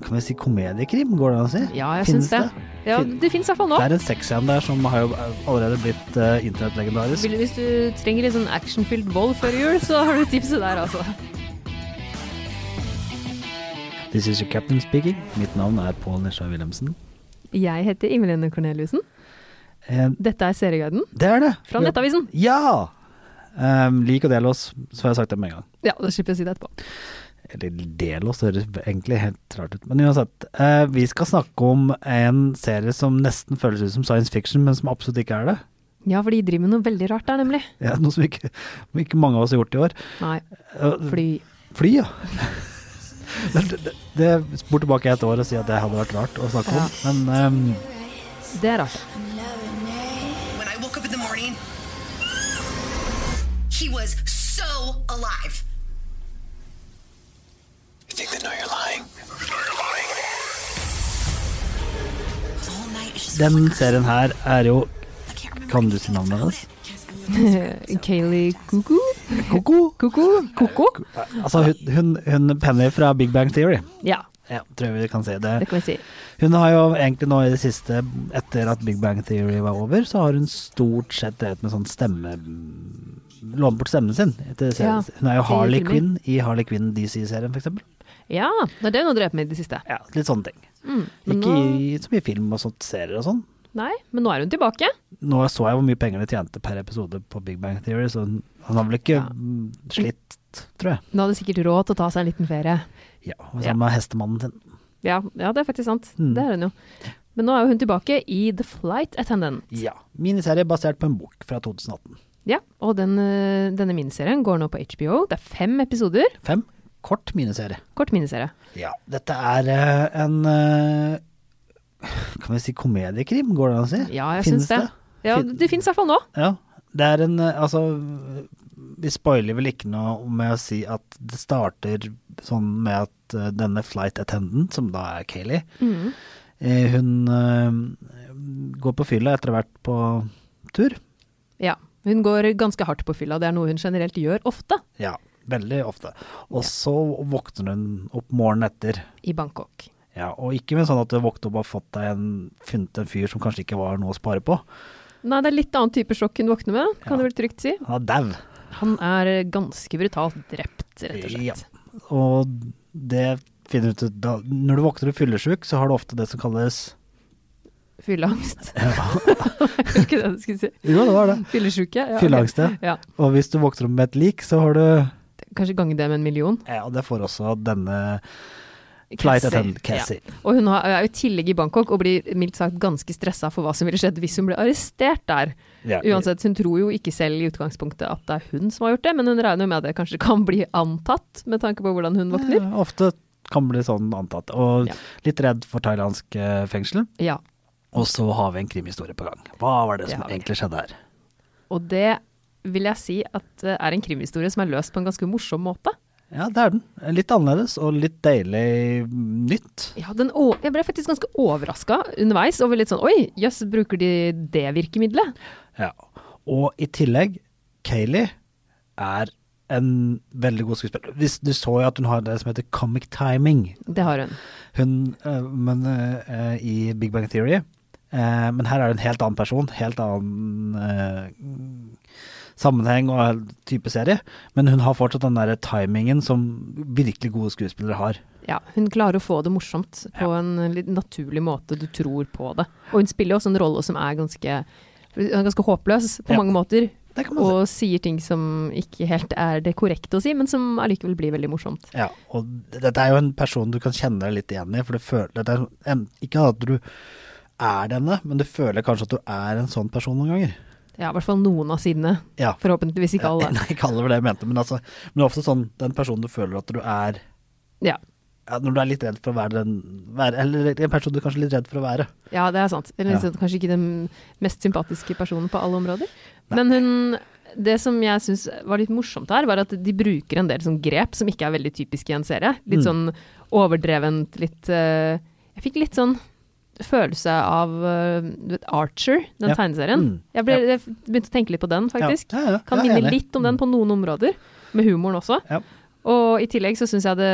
kan vi si komediekrim, går det an å si? Ja, jeg Finnes syns det. Ja, Fin- det fins i hvert fall nå. Det er en sexscene der som har jo allerede blitt uh, internettlegendarisk. Vil- Hvis du trenger litt sånn actionfylt vold før jul, så har du tipset der, altså. This is your captain speaking. Mitt navn er Pål Nesja Wilhelmsen. Jeg heter Imelene Corneliussen. Eh, Dette er Serieguiden det er det! fra Nettavisen. Ja! Um, lik og del oss, så har jeg sagt det med en gang. Ja, da slipper jeg å si det etterpå. Eller del oss, det høres egentlig helt rart ut. Men uansett. eh, vi skal snakke om en serie som nesten føles ut som science fiction, men som absolutt ikke er det. Ja, for de driver med noe veldig rart der, nemlig. Ja, noe som ikke, ikke mange av oss har gjort i år. Nei, Eh, fly. Fly, ja. Det, det, det spor tilbake et år og si at det hadde vært rart å snakke om, men ehm, Det er rart. When I woke up in the morning, he was so alive. You think they know you're lying? The whole night is just den serien her er jo I can't remember. Kan du si navnet hennes? Eh, Kayleigh Kuku. Koko! Kuku. Kuku. Altså, hun, hun, hun Penny fra Big Bang Theory. Ja, Ja, tror jeg vi kan si det. det kan vi si. Hun har jo egentlig nå i det siste, etter at Big Bang Theory var over, så har hun stort sett drevet med sånn stemme... Låne bort stemmen sin. Etter serien. Ja, hun er jo til Harley filmer. Quinn i Harley Quinn DC-serien, f.eks. Ja, det er det hun har drevet med i det siste. Ja, litt sånne ting. Mm. Men Ikke nå, i, så mye film og sånt, serier og sånn. nei, men nå er hun tilbake. Nå så jeg hvor mye penger de tjente per episode på Big Bang Theory, så han han har vel ikke Ja. mm, slitt, tror jeg. Nå hadde sikkert råd til å ta seg en liten ferie. Ja, og Ja. Sammen med hestemannen sin. Ja, ja det er faktisk sant. Mm. Det er hun jo. Men nå er jo hun tilbake i The Flight Attendant. Ja. Miniserie basert på en bok fra 2018. Ja, og den, øh, denne miniserien går nå på HBO. Det er fem episoder. Fem. Kort miniserie. Kort miniserie. Ja. Dette er eh, en eh, Kan vi si komediekrim, går det an å si? Ja, jeg Finnes syns det. Ja, Fin- det fins i hvert fall nå. Ja. Det er en eh, Altså, vi spoiler vel ikke noe med å si at det starter sånn med at eh, denne flight attendant, som da er Kayleigh, Hmm. eh, hun eh, går på fylla etter å ha vært på tur. Ja. Hun går ganske hardt på fylla, det er noe hun generelt gjør ofte Ja, veldig ofte. Og så våkner hun opp morgenen etter. i Bangkok. Ja, og ikke med sånn at du våkner opp og har fått deg en, funnet en fyr som kanskje ikke var noe å spare på. Nei, det er litt annen type sjokk hun våkner med, kan du vel trygt si. Han er dau. Han er eh, ganske brutalt drept, rett og slett. Ja. Og det finner du ut da, Når du våkner og fyllesyk, så har du ofte det som kalles Fylleangst. Ja, Var det ikke det du skulle si? jo, det var det. Fyllesjuke? Ja. Fylleangst, ja. Ja. Og hvis du våkner opp med et lik, så har du Kanskje gange det med en million. Ja, det får også denne flight attendant Cassie. Ja. Og hun har- er jo i tillegg i Bangkok og blir mildt sagt ganske stressa for hva som ville skjedd hvis hun ble arrestert der. Ja. Uansett, hun tror jo ikke selv i utgangspunktet at det er hun som har gjort det, men hun regner jo med at det kanskje kan bli antatt, med tanke på hvordan hun våkner. Ja, Eh, Ofte kan bli sånn antatt. Og Ja. litt redd for thailandsk eh, fengsel. Ja, Og så har vi en krimhistorie på gang. Hva var det, Det som har vi. egentlig skjedde her? og det vil jeg si at eh, er en krimhistorie som er løst på en ganske morsom måte. Ja, det er den. Litt annerledes og litt deilig mm, nytt. Ja, den, å- jeg ble faktisk ganske overraska underveis over litt sånn oi, jøss, bruker de det virkemidlet? Ja. Og i tillegg, Kayleigh er en veldig god skuespiller. Hvis du så jo at hun har det som heter comic timing. Det har hun. Hun, eh, men eh, i Big Bang Theory eh, Men her er det en helt annen person, helt annen eh, sammenheng og type serie. Men hun har fortsatt den derre timingen som virkelig gode skuespillere har. Ja, hun klarer å få det morsomt på en litt naturlig måte du tror på det. Og hun spiller jo også en rolle som er ganske, hun er ganske håpløs på Ja. mange måter. Det kan man si. Og sier ting som ikke helt er det korrekte å si, men som allikevel blir veldig morsomt. Ja, og dette er jo en person du kan kjenne deg litt igjen i. For du føler, dette er en, ikke at du er denne, men du føler kanskje at du er en sånn person noen ganger. Ja, i hvert fall noen av sidene. Ja. Forhåpentligvis ikke alle. Nei, ikke alle var det jeg mente, men, altså, men det er ofte sånn den personen du føler at du er Ja. ja, Når du er litt redd for å være den være, Eller en person du er kanskje litt redd for å være. ja, det er sant. Eller Ja. liksom, kanskje ikke den mest sympatiske personen på alle områder. Men hun det som jeg syns var litt morsomt her, var at de bruker en del sånn grep som ikke er veldig typiske i en serie. Mm. Litt sånn overdrevent, litt eh, Jeg fikk litt sånn følelse av eh, du vet, Archer, den Ja. tegneserien. Mm. Jeg, ble, jeg begynte å tenke litt på den, faktisk. Ja, ja, ja. Kan Jeg er enig. minne Mm. litt om den på noen områder, med humoren også. Ja. Og i tillegg så syns jeg det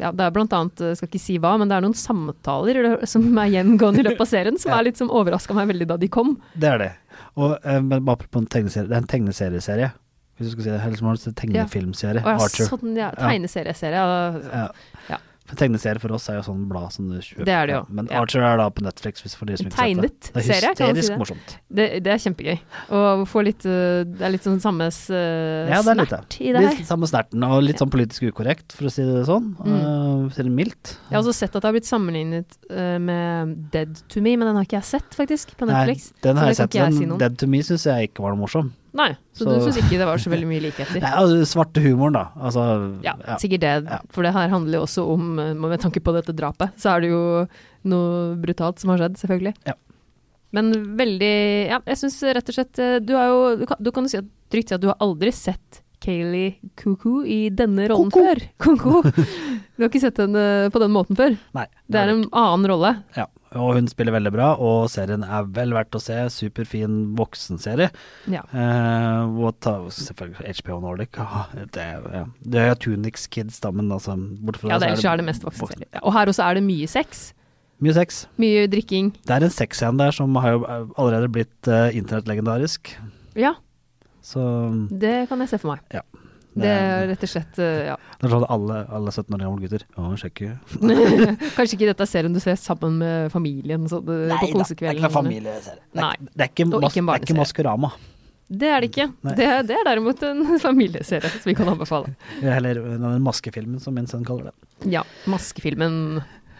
ja, det er blant annet, eh, skal ikke si hva, men det er noen samtaler i det- som er gjengående i løpet av serien, som Ja. er litt som overraska meg veldig da de kom. Det er det. Og eh, men bare apropos en tegneserie, det er en tegneserieserie. Hvis du skal si det, Hells Morals, det er en Ja. tegnefilmserie. Og jeg, Arthur. sånn, ja, tegneserieserie. Ja. Ja. Ja. For tegneserie for oss er jo sånn blad som du kjøper. Det er det jo, Men ja. Arthur er da på Netflix, hvis for de som ikke har sett det. Tegnet serie, kan man si hysterisk det? morsomt. Det, det er kjempegøy. Og få litt eh, Det er litt sånn samme uh, Ja, det er litt snert i det her. Litt samme snerten, og litt sånn politisk ukorrekt, for å si det sånn. Mm. si det mildt. Jeg har også sett at det har blitt sammenlignet eh, med Dead to me, men den har ikke jeg sett, faktisk, på Nei, Netflix. den så har jeg det kan sett, ikke jeg si men noe om. Dead to me syns jeg ikke var noe morsom. Nei, så, Så- du syns ikke det var så veldig mye likheter? Nei, altså, svarte humoren, da. Altså Ja, ja. sikkert det, Ja. for det her handler jo også om eh, Med tanke på dette drapet, så er det jo noe brutalt som har skjedd, selvfølgelig. Ja. Men veldig Ja, jeg syns rett og slett eh, Du har jo Du kan, du kan jo si at, trygt si at du har aldri sett Kayleigh Kuku i denne rollen Cuckoo. før. Kuku. Du har ikke sett henne eh, på den måten før. Nei, Det er det en annen rolle. Ja, og hun spiller veldig bra, og serien er vel verdt å se. Superfin voksenserie. Ja. Eh, og ta, selvfølgelig HBO Nordic. ah, Det, er- ja. det er Tunix Kids, da, men altså, bort fra ja, det, ellers er det mest voksne serier. Ja, Og her også er det mye sex. Mye sex. Mye drikking. Det er en sexscene der som har jo allerede blitt eh, internettlegendarisk. Ja, Så det kan jeg se for meg. Ja. Det er rett og slett eh, Ja. det er sånn alle, alle 17 år gamle gutter Å, sjekke. Kanskje ikke dette er serien du ser sammen med familien så det, på kosekvelden? familieserie. Det Nei. er, det er ikke, Og mas, ikke en det er ikke Maskorama. Det er det ikke. Nei. Det, er- det er derimot en familieserie som vi kan anbefale. Eller den maskefilmen, som min sønn kaller det. Ja, Maskefilmen.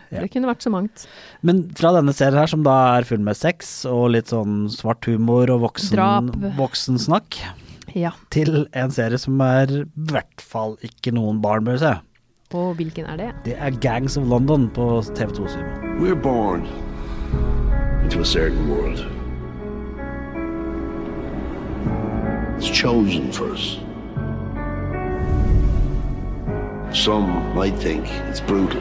Ja. Det kunne vært så mangt. Men fra denne serien her, som da er full med sex og litt sånn svart humor og voksen, Drap. voksensnakk, Ja. til en serie som er i hvert fall ikke noen barn bør se. Og hvilken er det? Det er Gangs of London på TV2 Sumo. We're born into a certain world. It's chosen for us. Some might think it's brutal.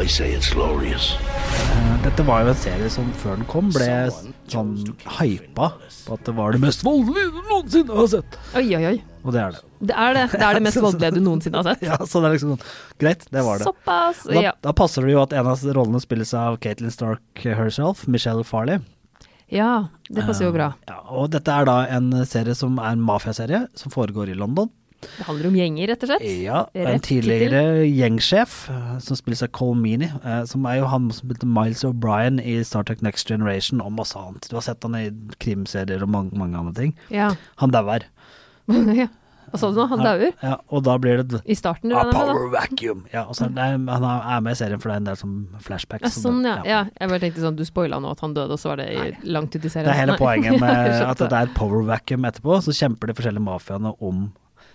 I say it's glorious. Eh, Dette var jo en serie som før den kom ble sånn hypa på at det var det mest voldelige du noensinne har sett. Oi, oi, oi. Og det er det. Det er det, det, er det mest voldelige du noensinne har sett. Ja, så det er liksom sånn Greit, det var det. Såpass. Da, Ja. da passer det jo at en av rollene spilles av Caitlin Stark herself, Michelle Farley. ja, det passer Eh. jo bra. Ja, og dette er da en serie som er en mafiaserie, som foregår i London. Det handler om gjenger, rett og slett. Ja, det er en Rett tittel. tidligere gjengsjef, eh, som spilles av Cole Meany, eh, som er jo han som spilte Miles O'Brien i Star Trek Next Generation og masse annet. Du har sett han i krimserier og mange, mange andre ting. Ja. Han dauer. ja. Hva sa du nå? Han dauer? Ja, og da blir det I starten? A regner jeg med, Ah, da? Mm. power vacuum. Ja, og så er det, han er med i serien, for det er en del som flashbacks. Ja, og sånn, ja. det- ja. Jeg bare tenkte sånn, du spoila nå at han døde, og så var det i, langt ut i serien. Det er hele Nei. poenget Jeg med skjønte at det er et power vacuum etterpå, så kjemper de forskjellige mafiaene om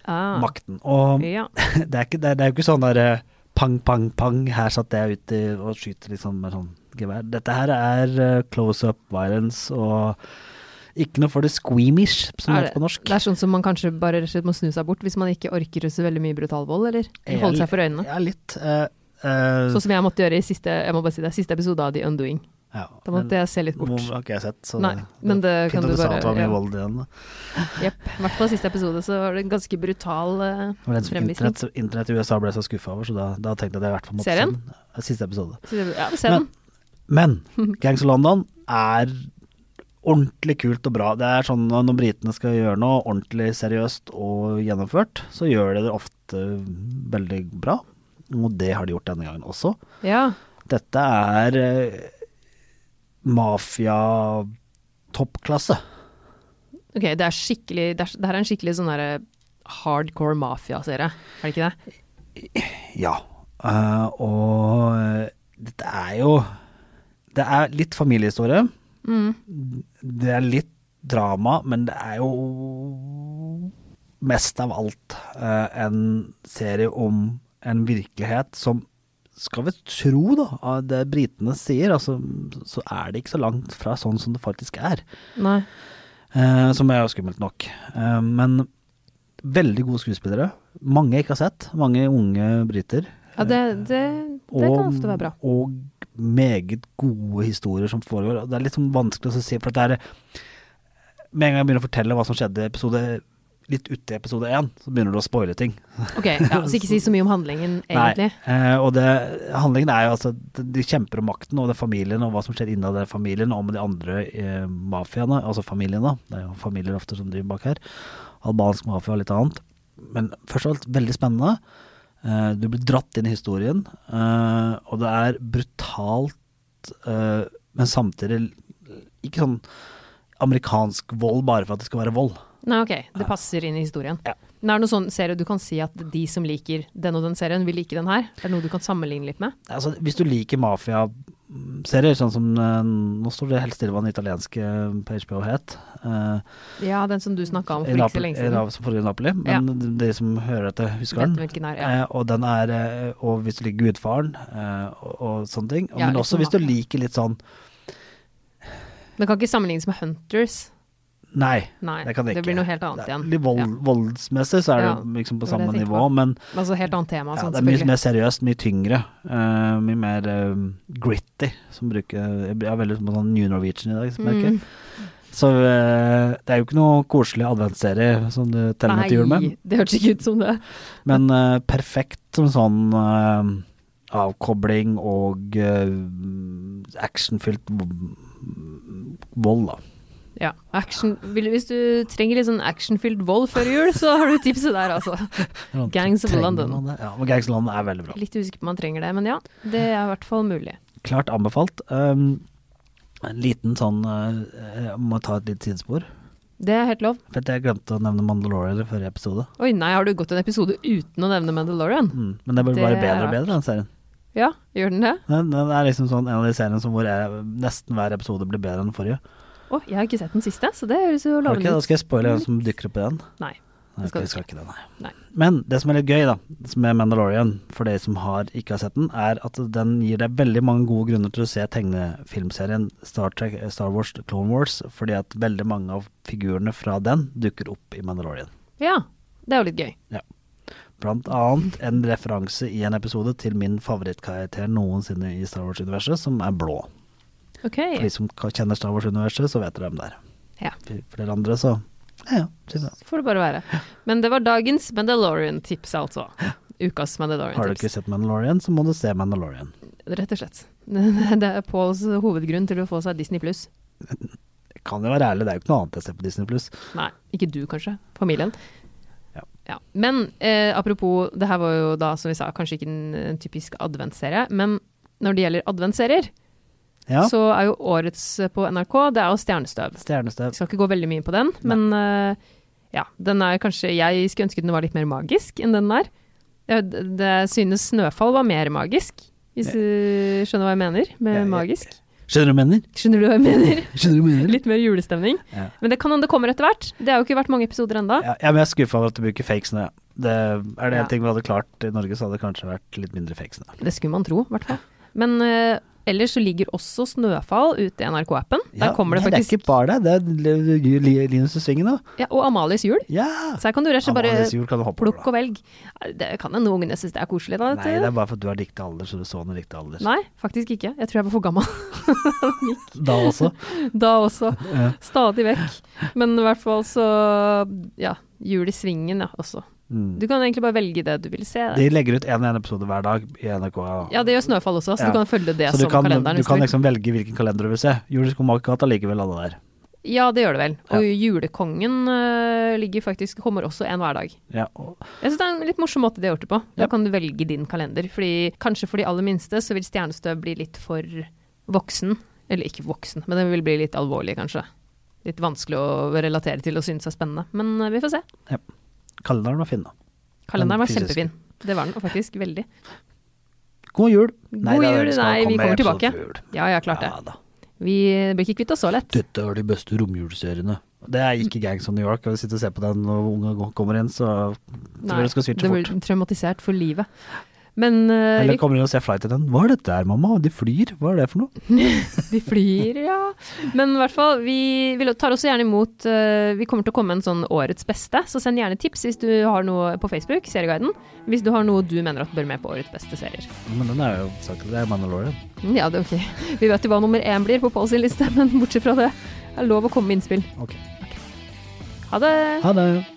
ah, makten. Og Ja. det er, ikke, det, er, det er jo ikke sånn der eh, pang, pang, pang, her satt jeg ute og skyter liksom med sånn gevær. Dette her er eh, close up violence og ikke noe for det squeamish, som det Er heter på norsk. Det er sånn som man kanskje bare rett og slett må snu seg bort hvis man ikke orker så veldig mye brutal vold, eller holde seg for øynene. Ja, litt. eh, eh, Sånn som jeg måtte gjøre i siste, jeg må bare si det, siste episode av The Undoing. ja, Da måtte jeg se litt Hvor bort. har ikke jeg sett, så Nei, men det kan fint at du du sa at bare- det var mye ja. vold i den. da. Jepp. I hvert fall siste episode så var det en ganske brutal eh, Det var den som fremvisning. internett, internett i USA ble så skuffa over, så da, da tenkte jeg at jeg i hvert fall måtte Serien? se den. Ja, Siste episode. Så det- Ja, se den. Men Gangs of London er ordentlig kult og bra. Det er sånn at når britene skal gjøre noe ordentlig seriøst og gjennomført, så gjør de det ofte veldig bra. Og det har de gjort denne gangen også. Ja. Dette er eh, mafia-toppklasse. Ok, det er skikkelig, det, er, det her er en skikkelig sånn derre hardcore mafia-serie, er det ikke det? Ja. Eh, og eh, dette er jo Det er litt familiehistorie. Det er litt drama, men det er jo mest av alt eh, en serie om en virkelighet som skal vi tro, da, av det britene sier, altså, så er det ikke så langt fra sånn som det faktisk er. Nei. Eh, som er jo skummelt nok. Eh, men veldig gode skuespillere. Mange jeg ikke har sett. Mange unge briter. Ja, det, det, det kan ofte være bra. Og meget gode historier som foregår. eh, Og Det er litt sånn vanskelig å si, for at det er Med en gang jeg begynner å fortelle hva som skjedde i episode litt ute i episode én, så begynner du å spoile ting. Ok, ja, Så ikke si så mye om handlingen, egentlig. Nei. Eh, og det, handlingen er jo altså de de kjemper om makten og det familien og hva som skjer innad i den familien og med de andre eh, mafiaene, altså familiene. Det er jo familier ofte som driver bak her. Albansk mafia og litt annet. Men først og alt veldig spennende. Eh, du blir dratt inn i historien, eh, og det er brutalt, eh, men samtidig l- ikke sånn amerikansk vold bare for at det skal være vold. Nei, ok, det passer inn i historien. Ja. Men er det noen sånn serie du kan si at de som liker den og den serien, vil like den her? Er det noe du kan sammenligne litt med? Altså, hvis du liker mafiaserier, sånn som eh, Nå står det helt stille hva den italienske på HBO het. eh, Ja, den som du snakka om i for ikke så Napoli- i lenge siden. Nav- som foregår i Napoli. Men de- de som hører dette, husker Vet den. hvilken er, ja. Eh, og den er eh, Og hvis du liker Gudfaren eh, og, og sånne ting. Ja, men litt også sånn hvis du mafia. liker litt sånn Den kan ikke sammenlignes med Hunters. Nei, Nei, det kan det ikke. blir noe helt Det annet er igjen. Litt vold, Ja. voldsmessig så er Ja, det liksom på det var det samme jeg tenkte nivå, på. men Altså helt annet tema. ja, sånn, det er mye selvfølgelig. mer seriøst, mye tyngre. eh, mye mer eh, gritty, som bruker Jeg er veldig på sånn New Norwegian i dag, merker jeg. Mm. Så eh, det er jo ikke noe koselig adventsserie som du teller med til jul med, Nei, det hørtes ikke ut som det. men eh, perfekt som sånn eh, avkobling og eh, actionfylt v- vold, da. Ja, action, vil, Hvis du trenger litt sånn actionfylt vold før jul, så har du tipset der, altså. Gangs of Trenger London. man det? Ja, men Gangs of London er veldig bra. Litt usikker på om man trenger det, men ja. Det er i hvert fall mulig. Klart anbefalt. Um, en liten sånn eh, Jeg må ta et lite sidespor. Det er helt lov. For at jeg glemte å nevne Mandalorian i forrige episode. Oi, nei, har du gått en episode uten å nevne Mandalorian? Mm. Men det blir Det bare er bedre og bedre, den serien. Ja, gjør den det? Den, den er liksom sånn en av de seriene som hvor jeg, nesten hver episode blir bedre enn den forrige. Å, jeg har ikke sett den siste, så det høres jo Ok, lovende da ut. skal jeg spoile hvem som dukker opp i den. Nei. Nei, Det ok, skal du jeg skal ikke det, nei. Nei. Men det som er litt gøy da, med Mandalorian, for de som har, ikke har sett den, er at den gir deg veldig mange gode grunner til å se tegnefilmserien Star, Trek, eh, Star Wars Clone Wars, fordi at veldig mange av figurene fra den dukker opp i Mandalorian. Ja, det er jo litt gøy. Blant annet en referanse i en episode til min favorittkarakter noensinne i Star Wars-universet, som er blå. Ok. For de som ka- kjenner Star Wars-universet, så vet dere hvem det er. Ja. For for dere andre, så ja, ja. synes jeg. Så får det bare være. Men det var dagens Mandalorian-tips, altså. Ukas Har du ikke Mandalorian-tips. sett Mandalorian, så må du se Mandalorian. Rett og slett. Det er Pauls hovedgrunn til å få seg Disney pluss. kan jo være ærlig, det er jo ikke noe annet jeg ser på Disney pluss. Nei, ikke du kanskje, familien. Ja. Men eh, apropos, det her var jo da, som vi sa, kanskje ikke en, en typisk adventsserie, men når det gjelder adventsserier, Ja, så er jo årets på NRK, det er jo Stjernestøv. Stjernestøv. Jeg skal ikke gå veldig mye inn på den, men eh, ja, den er kanskje Jeg skulle ønske den var litt mer magisk enn den er. Jeg, det synes Snøfall var mer magisk, hvis du skjønner hva jeg mener med Jeg- jeg- magisk. Skjønner du hva jeg mener? Skjønner du hva jeg mener? Skjønner du hva jeg mener? Litt mer julestemning. Ja. Men det kan hende det kommer etter hvert. Det har jo ikke vært mange episoder ennå. Ja, ja, men jeg er skuffa over at du bruker fake snø. Det, er det en Ja. ting vi hadde klart i Norge, så hadde det kanskje vært litt mindre fake snø. Det skulle man tro, i hvert fall. Men eh, ellers så ligger også Snøfall ute i NRK-appen. Der Ja, kommer det nei, Det faktisk er ikke bare det, det er li- li- Linus i Svingen òg. ja, Og Amalies jul. Ja! Så her kan du rett og slett Amalies bare jul kan du hoppe over, plukke og velge. Nei, Det kan hende ungene synes det er koselig, da. da. vet Nei, det du. er bare for at du har riktig alder, så du så den i riktig alder. Nei, faktisk ikke. Jeg tror jeg var for gammel Da også. da også. Ja. Stadig vekk. Men i hvert fall så Ja. Jul i svingen, ja, også. Mm. Du kan egentlig bare velge det du vil se. De legger ut en og en episode hver dag i NRK. Ja, det gjør Snøfall også, så Ja. du kan følge det så du som kan, kalenderen. du hvis kan vil. liksom velge hvilken kalender du vil se. Julius Komakat har likevel alle der. Ja, det gjør det vel. Og Julekongen eh, ligger faktisk, kommer også en hver dag. Ja, og Jeg synes det er en litt morsom måte de har gjort det på. Da Ja. kan du velge din kalender. Fordi, kanskje for de aller minste så vil Stjernestøv bli litt for voksen. Eller ikke voksen, men den vil bli litt alvorlig, kanskje. Litt vanskelig å relatere til og synes er spennende. Men eh, vi får se. kalenderen var fin, da. Kalenderen Den var fysiske. kjempefin. Det var den, og faktisk veldig. God jul. God det er jul, det skal nei, vi komme kommer episode tilbake. før jul. Ja, ja, klart det. Ja da. Vi blir ikke kvitt oss så lett. Dette er de beste romjulseriene. Det er ikke Gangs of New York. og Hvis du ser på den når unga går- kommer inn, så tror jeg du skal switche det blir fort. traumatisert for livet. Men eh, Eller vi kommer inn og ser Flight Attendant. Hva er dette her, mamma? De flyr? Hva er det for noe? Vi flyr, ja. Men i hvert fall, vi, vi tar også gjerne imot eh, Vi kommer til å komme med en sånn Årets beste, så send gjerne tips hvis du har noe på Facebook, Serieguiden. Hvis du har noe du mener at bør med på Årets beste serier. Men den er jo sagt, det er Mandalorian. Mm, Ja, det er ok. Vi vet jo hva nummer én blir på Paul sin liste, men bortsett fra det, er lov å komme med innspill. Ok. Ha det! Ha det.